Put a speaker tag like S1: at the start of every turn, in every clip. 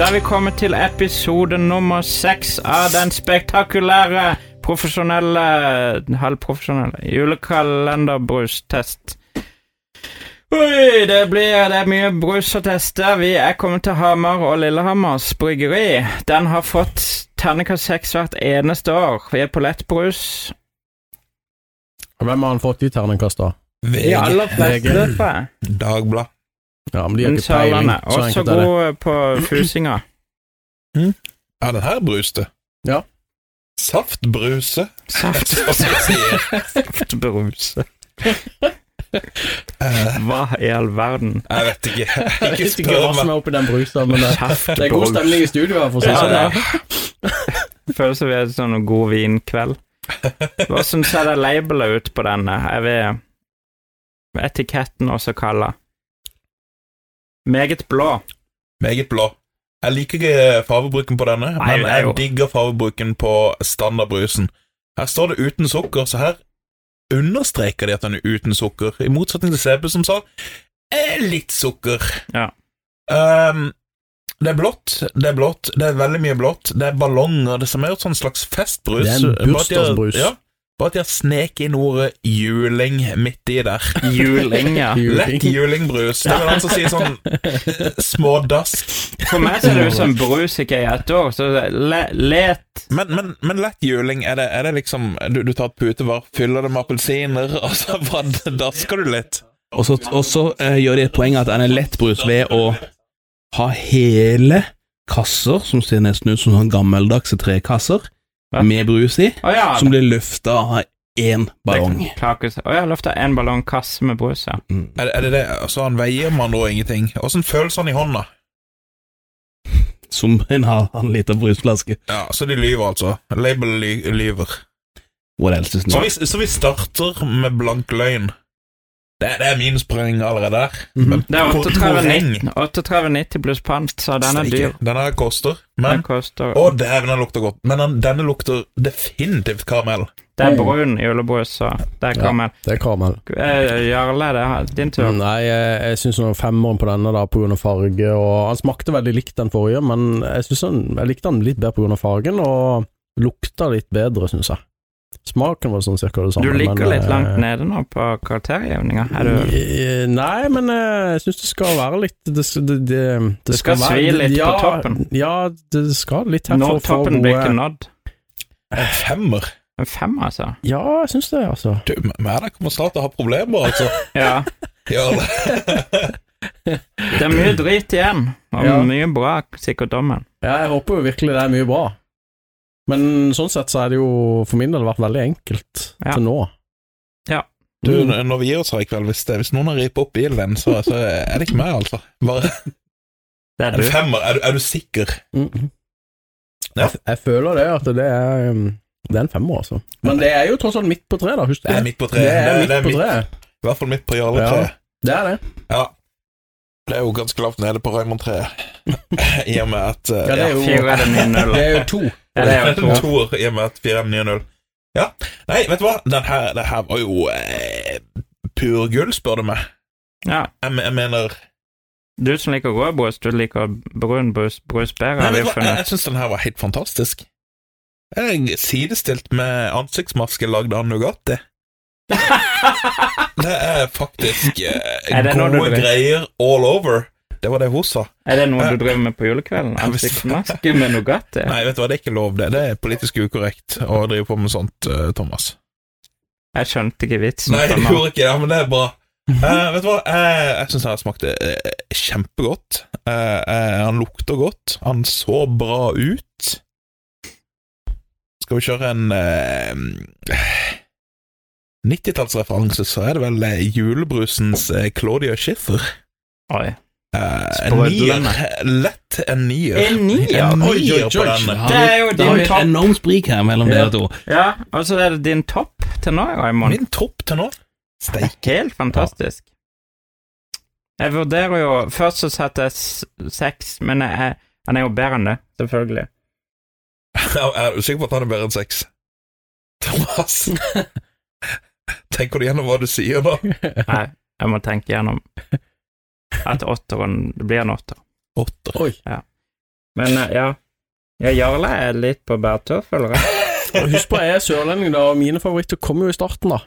S1: Da er vi kommet til episode nummer seks av den spektakulære profesjonelle Halvprofesjonelle julekalenderbrustest. Oi, det blir det er mye brus å teste. Vi er kommet til Hamar og Lillehammers bryggeri. Den har fått terningkast seks hvert eneste år. Vi er på lettbrus.
S2: Hvem har han fått de terningkastene?
S1: De
S3: VG,
S1: aller fleste,
S2: VG.
S1: tror jeg.
S3: Dagblad.
S2: Ja, men de har
S1: Den
S2: ikke peiling.
S1: Sørlandet.
S2: Så
S1: Også
S2: enkelt er det.
S1: god på fusinga.
S3: Ja, den her bruste.
S2: Ja.
S3: Saftbruse.
S1: Saft. Saftbrus.
S3: Eh,
S1: Hva i all verden?
S3: jeg vet ikke.
S2: Jeg
S3: Ikke
S2: vet ikke
S3: spør
S2: hva som
S3: meg.
S2: er oppi den brusa, men det, det er god
S1: Saftbrus.
S2: stemning i studio her, for å si
S1: Ja,
S2: det sånn.
S1: det er- føles som vi er sånn en god vinkveld. Hvordan ser det labelet ut på denne? Er vi etiketten også kalla? Meget blå.
S3: Meget blå. Jeg liker ikke fargebruken på denne,
S1: Nei,
S3: men
S1: det er jo-
S3: jeg digger fargebruken på standardbrusen. Her står det uten sukker, så her understreker de at den er uten sukker, i motsetning til CB som sa eh, litt sukker.
S1: Ja.
S3: Ehm, det er blått, det er blått, det er veldig mye blått, det er ballonger, det som er jo et sånn slags festbrus.
S2: Det er en
S3: Bare at de har-
S2: bursdagsbrus.
S3: Ja, bare at de har sneket inn ordet juling midt i der.
S1: Juling, ja.
S3: Lett
S2: Juling.
S3: julingbrus. Det er vel han som sier sånn eh, smådask.
S1: For meg ser det ut som brus ikke er i ett år, så det er le let
S3: Men, men, men lett juling, er det, er det liksom du, du tar et putevar, fyller det med appelsiner, og så bare dasker du litt?
S4: Og så, og så eh, gjør de et poeng at den er lettbrus ved å ha hele kasser, som ser nesten ut som sånn gammeldagse trekasser,
S1: Hva?
S4: med brus i,
S1: Å ja.
S4: som blir løfta av én ballong.
S1: Kakes. Å ja, løfta en ballong kasse med brus, ja.
S3: Er, det- er det det? Altså, han veier man da ingenting. Åssen føles han i hånda?
S4: Som en halvannen liter brusflaske.
S3: Ja, Så de lyver, altså. Label ly lyver.
S4: What else is
S3: Så
S4: new?
S3: vi, så vi starter med blank løgn. Det, det er min spreng allerede der. Men
S1: Det er
S3: hvor- hvor lenge?
S1: 38,90 38,90 pluss pant, så den er dyr.
S3: Denne her koster, men
S1: Den koster
S3: Å, dæven, den lukter godt. Men den, denne lukter definitivt karamell.
S1: Det er brun julebrus, så der
S2: Ja.
S1: kommer den.
S2: Det er karamell.
S1: Eh, Jarle, det er din tur.
S2: Nei, jeg, jeg syns femmeren på denne da, pga. farge og Han smakte veldig likt den forrige, men jeg, synes han, jeg likte han litt bedre pga. fargen, og lukta litt bedre, syns jeg. Smaken var sånn cirka det samme.
S1: Du ligger
S2: men,
S1: litt
S2: eh,
S1: langt nede nå på karakterjevninga. Er du
S2: eh, Nei, men eh, jeg syns det skal være litt Det, s- det, det, det
S1: skal svi litt på
S2: ja,
S1: toppen.
S2: Ja, det skal litt her
S1: Nå
S2: for å få
S1: toppen blir ikke
S2: gode
S1: nådd.
S3: En femmer.
S1: En fem, altså.
S2: Ja, jeg syns det, altså.
S3: Du, men jeg kommer snart til å ha problemer, altså.
S1: Ja.
S3: Gjør det.
S1: Det er mye drit igjen, og
S2: Ja.
S1: mye bra, sikkert dommen.
S2: Ja, jeg håper jo virkelig det er mye bra. Men sånn sett så er det jo for min del vært veldig enkelt
S1: Ja.
S2: til nå.
S1: Ja.
S3: Du,
S2: Mm.
S3: n- når vi gir oss her i kveld, hvis, det, hvis noen har ripet opp bilen din, så, så er det ikke meg, altså. Bare
S1: Det er
S3: en
S1: du.
S3: femmer. Er du, er du sikker?
S2: Mhm.
S3: Ja.
S2: Jeg, jeg føler det, at det er um, Det er en femmer, altså. Men det er jo tross alt midt på treet, da. Husk
S3: Det er midt på
S2: Det
S3: treet.
S2: er midt på
S3: midt-
S2: treet.
S3: I hvert fall midt på Jarle-treet.
S2: Det er det.
S3: Ja. Det er jo ganske lavt nede på Raymond-treet. I og med at eh,
S2: Ja, det er jo,
S1: Fire er det nye null.
S2: det er jo to.
S1: Ja, det er jo
S3: en
S1: to.
S3: toer, i og med at 4 er 9-0. Ja. Nei, vet du hva? Den her, det her var jo eh, pur gull, spør du meg.
S1: Ja.
S3: Jeg, me- jeg mener
S1: Du som liker rød brus, du liker brun brus, brus bedre,
S3: Nei,
S1: har vi
S3: vet du hva? Jeg,
S1: funnet.
S3: jeg syns den her var helt fantastisk. Jeg er sidestilt med ansiktsmaske lagd av Nugatti. Det er faktisk eh,
S1: Er det noe du
S3: gode
S1: drikker?
S3: greier all over. Det var det hun sa.
S1: Er det noe du driver med på julekvelden? Ansiktsmaske med Nugatti?
S3: Nei, vet du hva, det er ikke lov, det. Det er politisk ukorrekt å drive på med sånt, eh, Thomas.
S1: Jeg skjønte ikke vitsen.
S3: Nei, det
S1: Thomas.
S3: gjorde ikke det, men det er bra. Eh, vet du hva, jeg, jeg syns den her smakte eh, kjempegodt. Eh, eh, han lukter godt. Han så bra ut. Skal vi kjøre en eh, 90-tallsreferanse, så er det vel eh, julebrusens eh, Claudia Schiffer.
S1: Oi.
S3: Eh, en nier.
S1: Sprødlende.
S3: Lett en nier.
S1: En nier?
S3: En
S2: Oi, oi,
S3: nier
S2: oi.
S3: på den.
S1: Det er jo din
S4: Det har jo et
S1: topp.
S4: enormt sprik her mellom
S2: Ja.
S4: dere to.
S1: Ja, og så er det din topp til nå, Raymond.
S3: Min topp til nå.
S1: Det
S3: Steik.
S1: er helt fantastisk. Jeg vurderer jo Først så satte jeg s- seks, men jeg, jeg- han er jo bedre enn det, selvfølgelig.
S3: Er du sikker på at han er bedre enn seks? Thomas Tenker du gjennom hva du sier da?
S1: Nei, jeg må tenke gjennom at åtteren det blir en åtter.
S3: Åtter.
S2: Oi.
S1: Ja. Men eh, ja. ja Jarle er litt på bærtur, føler jeg.
S2: Og Husk på, jeg er sørlending, da, og mine favoritter kom jo i starten, da.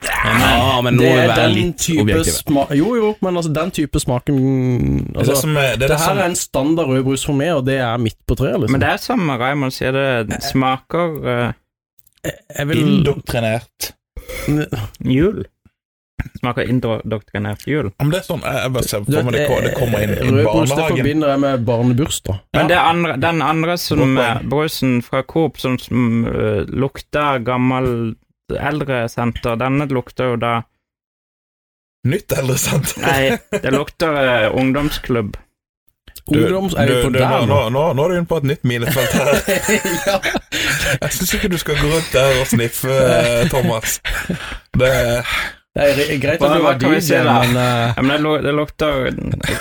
S4: Ja, Ah, men
S2: Ah, det
S4: nå må vi
S2: er
S4: være
S2: den
S4: litt
S2: type
S4: objektive.
S2: sma Jo, jo, men altså, den type smaken
S3: Det er
S2: altså,
S3: det som er, det er
S2: Det
S3: det
S2: her
S3: som,
S2: er en standard rødbrus for meg, og det er midt på treet, liksom.
S1: Men det er som Raymond sier, det smaker eh,
S2: jeg vil
S3: indoktrinert.
S1: jul. Smaker indoktrinert jul.
S3: Ja, Men det er sånn, jeg, jeg bare ser
S2: Du
S3: for meg det, ko- det kommer inn i
S2: eh, Rødbrus, det
S3: barnehagen.
S2: forbinder jeg med barnebursdag.
S1: Men
S3: Ja.
S1: det andre, den andre som
S3: Godt poeng.
S1: eh, brusen fra Coop som, som eh, lukta gammel eldresenter, denne lukter jo da
S3: Nytt eldresenter.
S1: Nei, det lukter eh, ungdomsklubb.
S3: Du, du,
S2: Ungdoms er jo på
S3: du, nå,
S2: der
S3: nå,
S2: nå.
S3: nå, nå er du inne på et nytt milefelt her.
S2: ja.
S3: Jeg syns ikke du skal gå rundt der og sniffe, eh, Thomas. Det
S2: Det er re- greit
S1: Hva-
S2: at du
S1: hva
S2: var
S1: kan vi si
S2: DJ,
S1: da?
S2: men eh,
S1: Ja, men det, lu- det lukter eh,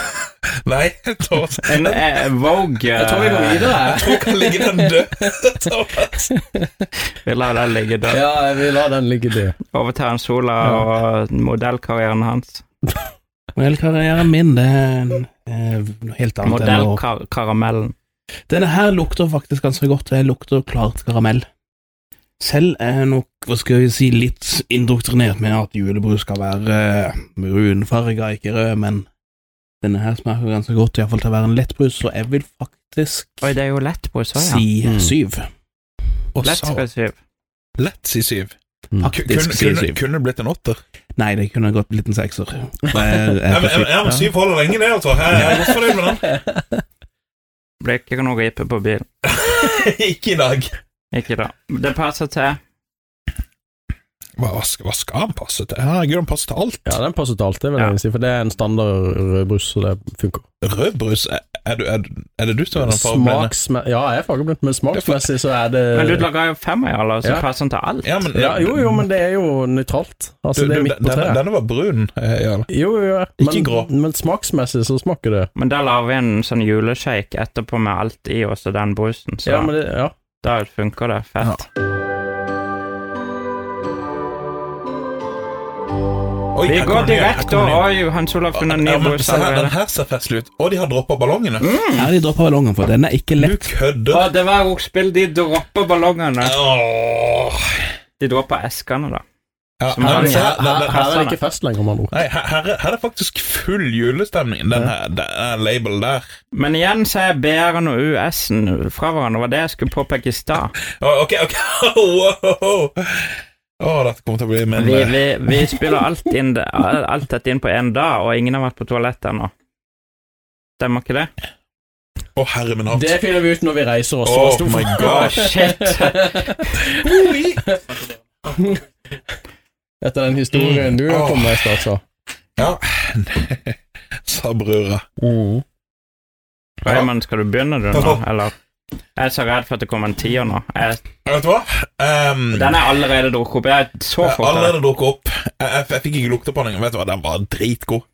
S3: Nei, Thomas.
S1: en eh, Vogue eh,
S2: jeg tror vi går
S3: Jeg
S2: videre.
S3: tror ikke han ligger den død, Thomas.
S1: Vi lar den ligge død.
S2: Ja, jeg vil la den ligge død.
S1: Overtar en Sola og modellkarrieren hans.
S4: Modellkarrieren min, det er en, eh, noe helt annet enn å
S1: Modellkaramellen.
S4: Denne her lukter faktisk ganske godt. Det lukter klart karamell. Selv er jeg nok hva skal vi si, litt indoktrinert med at julebrus skal være eh, brunfarga, ikke rød, men denne her smaker ganske godt, iallfall til å være en lettbrus, så jeg vil faktisk
S1: Oi, det er jo lettbrus òg, ja.
S4: si
S2: Mm.
S4: syv.
S3: Og så
S1: Lettbrus, ja.
S3: lett si syv.
S2: Mm.
S3: Ku- Kunne,
S4: Faktisk si
S3: kunne,
S4: syv.
S3: kunne det blitt en åtter.
S4: Nei, det kunne godt blitt en sekser. Det
S2: Eh,
S4: er- er
S3: Jeg,
S4: på
S3: jeg, jeg,
S4: syv.
S3: men syv holder lenge, det, altså. Jeg, jeg er godt fornøyd med den.
S1: Blir ikke noe ripe på bilen.
S3: Ikke i dag.
S1: Ikke da. Det passer til.
S3: Hva, hva, skal, hva skal han passe til? Herregud, han passer til alt.
S2: Ja, den passet til alt, det vil
S1: Ja.
S2: jeg si, for det er en standard rødbrus, så det funker.
S3: Rødbrus, er, er, du, er, du- er det du som er den fargeblinde?
S2: Smaksme ja, jeg er fargeblind, men smaksmessig så er det
S1: Men du lager jo femmer i alle, så
S2: Eh. Ja.
S1: passer den til alt.
S3: Ja, men,
S2: ja, Jo, jo, men det er jo nøytralt. Altså,
S3: Du-
S2: det er
S3: du,
S2: midt på
S3: denne,
S2: treet.
S3: denne var brun. eh, Jarl.
S2: Jo, jo, jo.
S3: Ikke
S2: Men,
S3: grå.
S2: men smaksmessig så smaker det
S1: Men da lager vi en sånn juleshake etterpå med alt i oss og den brusen, så
S2: Ja, men det, ja.
S1: da funker det fett.
S3: Oi,
S1: Vi
S3: her
S1: går
S3: kommer den igjen, her
S1: direkte
S3: kommer den
S1: og
S3: igjen.
S1: Oi, Hans Olav har funnet en ny
S3: Ja, men
S1: brus
S3: se her, den
S1: allerede.
S3: her ser festlig ut. Og de har droppa ballongene.
S2: Mm.
S4: Ja, de dropper ballongen, for den er ikke
S3: Du
S4: lett.
S1: Å,
S3: kødder.
S1: det var ordspill. De dropper ballongene.
S3: Åh.
S1: De dropper eskene, da.
S3: Ja,
S1: Som
S3: nei,
S1: har
S3: men
S1: den
S3: se her,
S2: Her,
S3: den-
S2: her,
S3: den-
S2: her er det ikke fest lenger, med andre ord.
S3: Nei, her, her, er- her er det faktisk full julestemning. Den her, den her label der.
S1: Men igjen så er BR-en og US-en fra hverandre. Det var det jeg skulle påpeke i stad.
S3: Å, Ok, ok. Wow. Å, dette kommer til å bli min
S1: Vi,
S3: eh,
S1: vi, vi spiller alt, inn, det- alt dette inn på én dag, og ingen har vært på toalettet ennå. Stemmer ikke det?
S3: Å, herre min hatt.
S2: Det finner vi ut når vi reiser oss.
S3: Oh
S2: Stor-
S3: my
S1: Å,
S3: gosh.
S1: shit!
S2: Etter den historien du
S3: Åh.
S2: kom med altså. i stad, så.
S3: Ja, sa brura.
S1: Mm. Raymond, skal du begynne du nå, eller? Jeg er så redd for at det kommer en tier nå. Jeg,
S3: Vet du hva? Ehm,
S1: den er allerede drukket opp. Jeg er så
S3: jeg har
S1: fort.
S3: allerede drukket opp. Jeg, jeg, jeg fikk ikke lukte på den engang. Vet du hva, den var dritgod.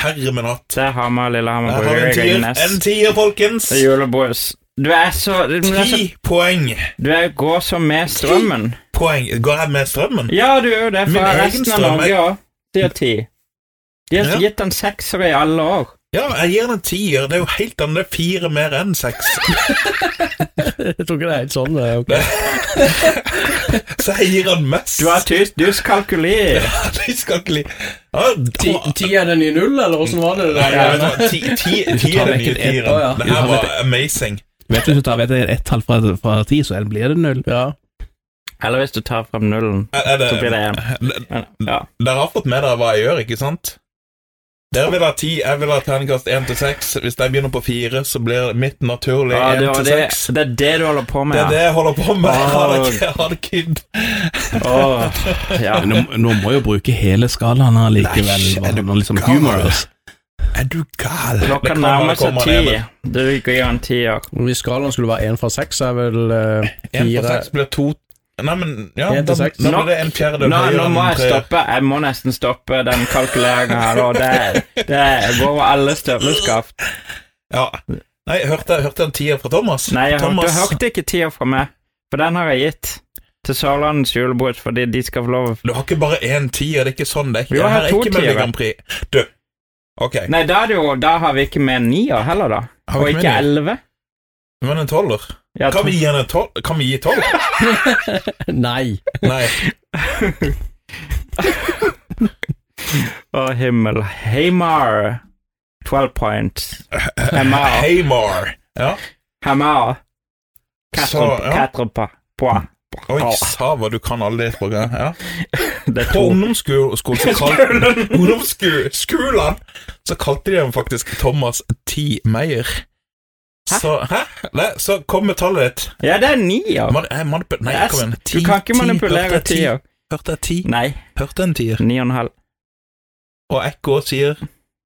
S3: Herre min hatt.
S1: Det er Hamar, Lillehammer,
S3: Jeg har en
S1: Brygge,
S3: tier,
S1: Nes.
S3: en tier, folkens.
S1: Det er Julebrus. Du er så Du, er så,
S3: Ti poeng.
S1: du er, går så med strømmen.
S3: Poeng. Går jeg med strømmen?
S1: Ja, du er jo det,
S3: Min
S1: fra
S3: egen
S1: resten av
S3: strøm,
S1: Norge
S3: jeg-
S1: òg. De har ti. De har
S3: Ja.
S1: gitt den sekser i alle år.
S3: Ja, jeg gir den en tier. Det er jo helt annet. Det er fire mer enn seks.
S2: Jeg tror ikke det er helt sånn. Det er ok.
S3: Så jeg gir den mest.
S1: Du har tyst dyskalkuli.
S3: De skal ikke li... Ja,
S2: Ti, ti er den nye null, eller åssen var det det
S3: Nei,
S2: der?
S3: jeg vet hva, ti, ti, ti
S4: tar
S3: er den
S4: vekk
S3: nye
S4: et ett,
S2: å, ja.
S3: tieren. Det her var amazing.
S4: Vet du, hvis du tar vet du, ett tall fra, fra ti, så blir det null.
S2: Ja.
S1: Eller hvis du tar frem nullen,
S3: Er, er det,
S1: så blir det en. Men, ja.
S3: Dere har fått med dere hva jeg gjør, ikke sant? Dere vil ha ti, jeg vil ha terningkast én til seks. Hvis jeg begynner på fire, så blir mitt naturlig
S1: Ja,
S3: én
S1: det, var
S3: til
S1: det,
S3: seks.
S1: det er det du holder på med,
S3: Det er det
S1: ja.
S3: jeg holder på med. Ha det, ikke- ha det kid.
S1: Åh, ja.
S4: Men Nå, nå må jeg jo bruke hele skalaen her likevel.
S3: Nei, er du
S4: Nei, liksom
S3: gal?
S4: humorous.
S3: Er du gal?
S1: Klokka
S3: Det kommer-
S1: nærmer
S3: det
S1: seg
S3: kommer
S1: ti.
S3: en.
S1: Du gir en tier.
S2: Hvis skalaen skulle være én fra seks, så er vel eh,
S3: En til
S2: fire
S3: seks blir to Nei, men ja,
S2: En til
S3: da,
S2: seks.
S3: da blir det en
S1: Nå,
S3: fjerdedel
S1: nå
S3: høyere
S1: må
S3: enn
S1: jeg
S3: tre.
S1: stoppe. Jeg må nesten stoppe den kalkuleringen her. Og det, det går over alle støvleskaft.
S3: Ja. Nei, jeg hørte, jeg hørte en tier fra Thomas.
S1: Nei, jeg hørte,
S3: Thomas,
S1: du hørte ikke tier fra meg, for den har jeg gitt til Sørlandets julebrus fordi de skal få lov å
S3: Du har ikke bare én tier. Det er ikke sånn. Det er ikke,
S1: Vi har
S3: det her
S1: hatt
S3: er
S1: to
S3: ikke Melodi
S1: tiere.
S3: Grand Prix. Du, ok.
S1: Nei, da, er det jo, da har vi ikke med en nier heller, da.
S3: Har
S1: Og
S3: vi ikke
S1: ikke
S3: med det?
S1: elleve.
S3: Men en tolver?
S1: Ja,
S3: Kan vi gi henne en tolv? Kan vi gi tolv?
S2: Nei.
S3: Nei.
S1: to- Å, himmel. Hamar. 12 points. Hamar.
S3: Heymar. Ja.
S1: Hamar.
S3: Så, ja.
S1: Katrumpa. Poa.
S3: Oi, sava, du kan alle de språkene. Ja.
S1: Det er
S3: På
S1: to.
S3: ungdomsskolen så kalte Ungdomsskolen! Så kalte de ham faktisk Thomas T. Meyer. Så Hæ? Nei, så kom med tallet ditt.
S1: Ja, det er nier.
S3: Man, eh, manip nei,
S1: Yes,
S3: kom igjen.
S1: Du kan ikke manipulere
S3: hørte jeg
S1: tier.
S3: Hørte jeg ti?
S1: Nei.
S3: Hørte jeg en tier?
S1: Ni og en halv.
S3: Og Ekko sier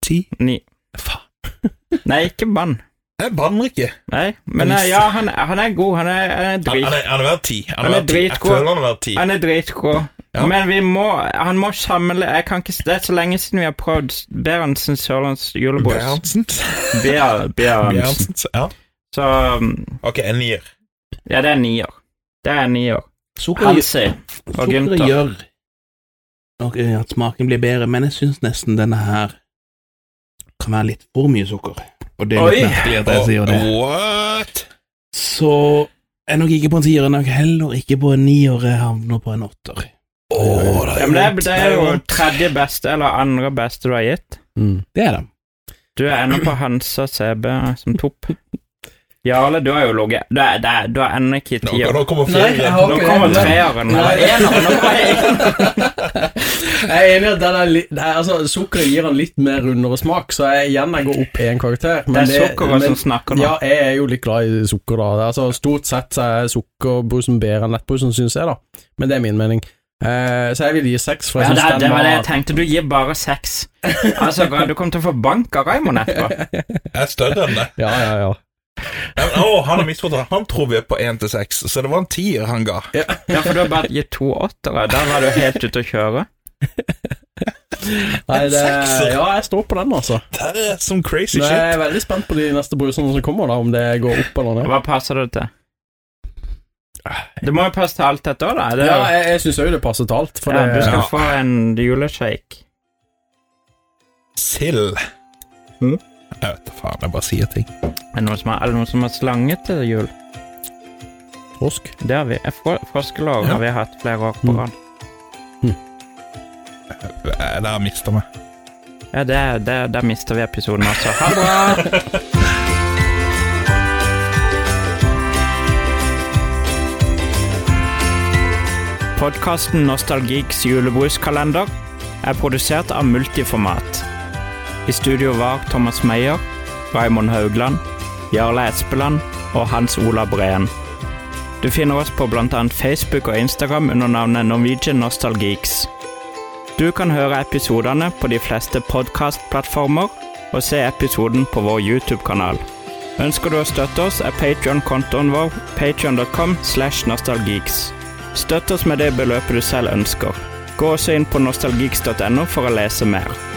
S3: ti.
S1: Ni.
S3: Faen.
S1: Nei, ikke bann.
S3: Jeg banner ikke.
S1: Nei, men eh, ja, han, han er god. Han er, han er
S3: Han, han
S1: drit.
S3: er, han er verdt ti.
S1: Han er
S3: verdt ti. Jeg
S1: dritgod.
S3: føler han er verdt ti.
S1: Han er dritgod.
S3: Ja.
S1: Men vi må Han må samle Jeg kan ikke Det er så lenge siden vi har prøvd Berentsen Sørlands julebrus.
S3: Bjørnsen.
S1: Ber- Berentsen.
S3: Bjørnsen. Ja.
S1: Så um,
S3: Ok, en nier.
S1: Ja, det er nier. Det er nier.
S4: Sukkeret
S1: Hansi.
S4: sukkeret
S1: Gunther.
S4: gjør nok eh, at smaken blir bedre, men jeg syns nesten denne her kan være litt for mye sukker. Og det er litt
S1: Oi.
S4: merkelig at jeg sier det.
S3: What?
S4: Så jeg er nok ikke på en tier, jeg er nok heller ikke på en nier, jeg havner på en åtter.
S3: Åh, det er
S1: Ja, men det, er-
S3: vondt,
S1: det er jo
S3: vondt.
S1: tredje beste, eller andre beste du har gitt.
S2: Mm.
S4: Det er det.
S1: Du er ennå på Hansa CB som topp. Jarle, du har jo ligget Du er, det er- du er ennå ikke i
S3: Nå,
S1: tier.
S3: nå kommer
S5: Nei, jeg
S3: fjellene.
S5: har
S1: Nå
S5: ikke
S1: kommer
S5: det.
S1: treeren. Eller
S5: Nei.
S1: eneren. Nå kommer eneren.
S2: Jeg er enig i at den er litt, det er, altså, sukkeret gir den litt mer rundere smak, så jeg igjen jeg går opp én karakter.
S1: Det er altså, sukkeret som snakker nå.
S2: Ja, jeg er jo litt glad i sukker, da. Det er Altså, stort sett så er sukkerbrusen bedre enn lettbrusen, syns jeg, da. Men det er min mening. Eh, så jeg vil gi seks, for
S1: Ja,
S2: jeg
S1: det, er-
S2: syns
S1: det
S2: den
S1: var
S2: var
S1: det jeg tenkte. Du gir bare seks. Altså, du kommer til å få bank av Raymond etterpå.
S3: Jeg er større enn det.
S2: Ja, ja, ja.
S3: Ja, men, Å, han har misforstått. Han tror vi er på 1 til 6, så det var en tier han ga.
S1: Ja, for du har bare gitt to åttere. Der var du helt ute å kjøre.
S2: Nei, det,
S3: sekser.
S2: ja, jeg står på den, altså.
S3: Det er som crazy
S2: Men
S3: shit.
S2: jeg er veldig spent på de neste brusene som kommer, da, om det går opp eller ned.
S1: Hva passer det til? Det må jo passe til alt dette òg, da. Det er
S2: Ja,
S1: jo-
S2: jeg, jeg syns òg det passer til alt, for
S1: ja, du
S2: det
S1: skal
S3: ja.
S1: få en juleshake.
S3: Sild.
S1: Mhm.
S3: Jeg vet da faen, jeg bare sier ting.
S1: Er det noen som har, er det noen som har slange til jul?
S2: Frosk.
S1: Det har vi. Eh, fro- Froskelår
S3: Ja.
S1: har vi hatt flere år på
S2: Mm.
S1: rad.
S3: Eh, Der mista meg.
S1: Ja, det, det, der mister vi episoden også. Ha det bra! Podkasten Nostalgiks julebruskalender er produsert av Multiformat. I studio var Thomas Meyer, Raymond Haugland, Jarle Espeland og Hans Olav Breen. Du finner oss på bl.a. Facebook og Instagram under navnet Norwegian Nostalgiks. Du kan høre episodene på de fleste podkastplattformer og se episoden på vår YouTube-kanal. Ønsker du å støtte oss, er Patreon-kontoen vår patreon.com slash nostalgeeks. Støtt oss med det beløpet du selv ønsker. Gå også inn på nostalgeeks.no for å lese mer.